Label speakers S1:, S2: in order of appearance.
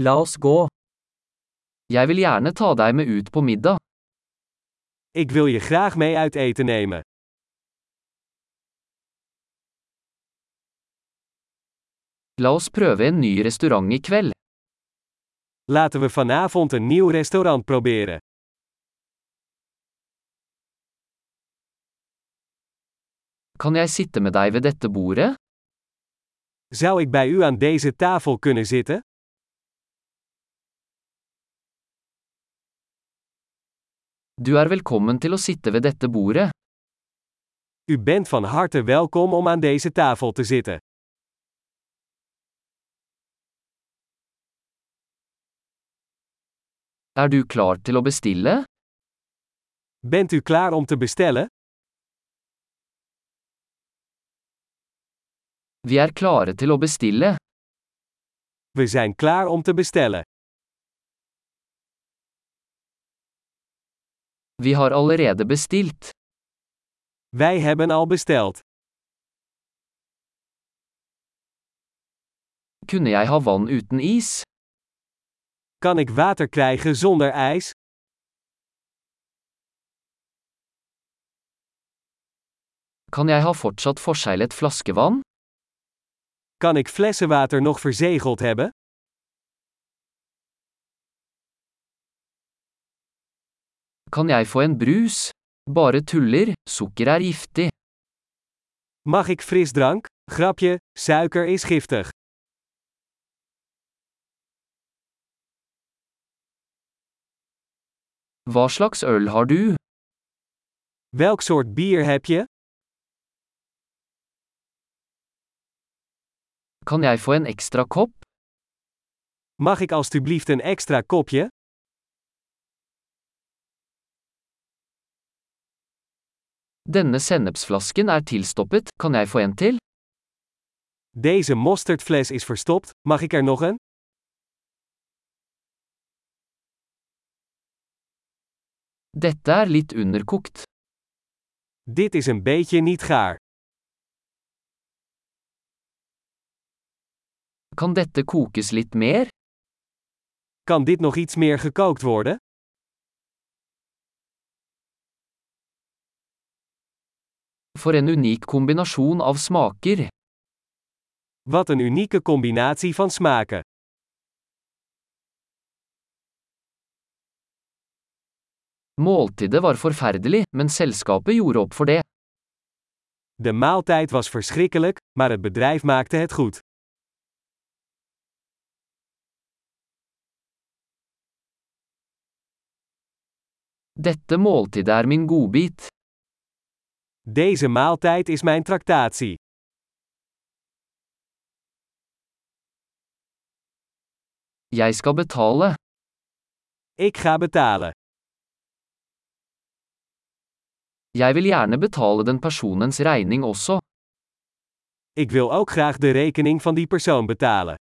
S1: La oss gå. Jeg vil gjerne ta deg med ut på middag.
S2: Ik wil je graag mee uit eten nemen.
S1: La oss prøve en ny restaurant i kveld.
S2: Laten we vanavond een nieuw restaurant proberen.
S1: Kan jeg sitte med deg ved dette bordet?
S2: Zou ik bij u aan deze tafel kunnen zitten?
S1: Du er velkommen til å sitte ved dette bordet.
S2: U bent van harte welkom om aan deze tafel te zitten.
S1: Er du klar til å bestille?
S2: Bent u klaar om te bestellen?
S1: Vi er klare til å bestille.
S2: We zijn klaar om te bestellen.
S1: Vi har allerede bestilt.
S2: Wij hebben al besteld.
S1: Kunne jeg ha vann uten is?
S2: Kan ik water krijgen zonder ijs?
S1: Kan jeg ha fortsatt forseglet flaskevann?
S2: Kan ik flessenwater nog verzegeld hebben?
S1: Kan jeg få en brus? Bare tuller, sukker er giftig.
S2: Mag ik frisdrank? Grapje, suiker is giftig.
S1: Hva slags øl har du?
S2: Welk soort bier heb je?
S1: Kan jeg få en ekstra kopp?
S2: Mag ik alstublieft een extra kopje?
S1: Denne sennepsflasken er tilstoppet, kan jeg få en til?
S2: Deze mosterdfles is verstopt, mag ik er nog een?
S1: Dette er litt underkokt.
S2: Dit is een beetje niet gaar.
S1: Kan dette kokes litt mer?
S2: Kan dit nog iets meer gekookt worden?
S1: For en unik kombinasjon av smaker.
S2: Wat een unieke combinatie van smaken.
S1: Måltidet var forferdelig, men selskapet gjorde opp for det.
S2: De maaltijd was verschrikkelijk, maar het bedrijf maakte het goed.
S1: Dette måltidet er min godbit.
S2: Deze maaltijd is mijn tractatie.
S1: Jeg skal betale.
S2: Ik ga betalen.
S1: Jeg vil gjerne betale den personens regning også.
S2: Ik wil ook graag de rekening van die persoon betalen.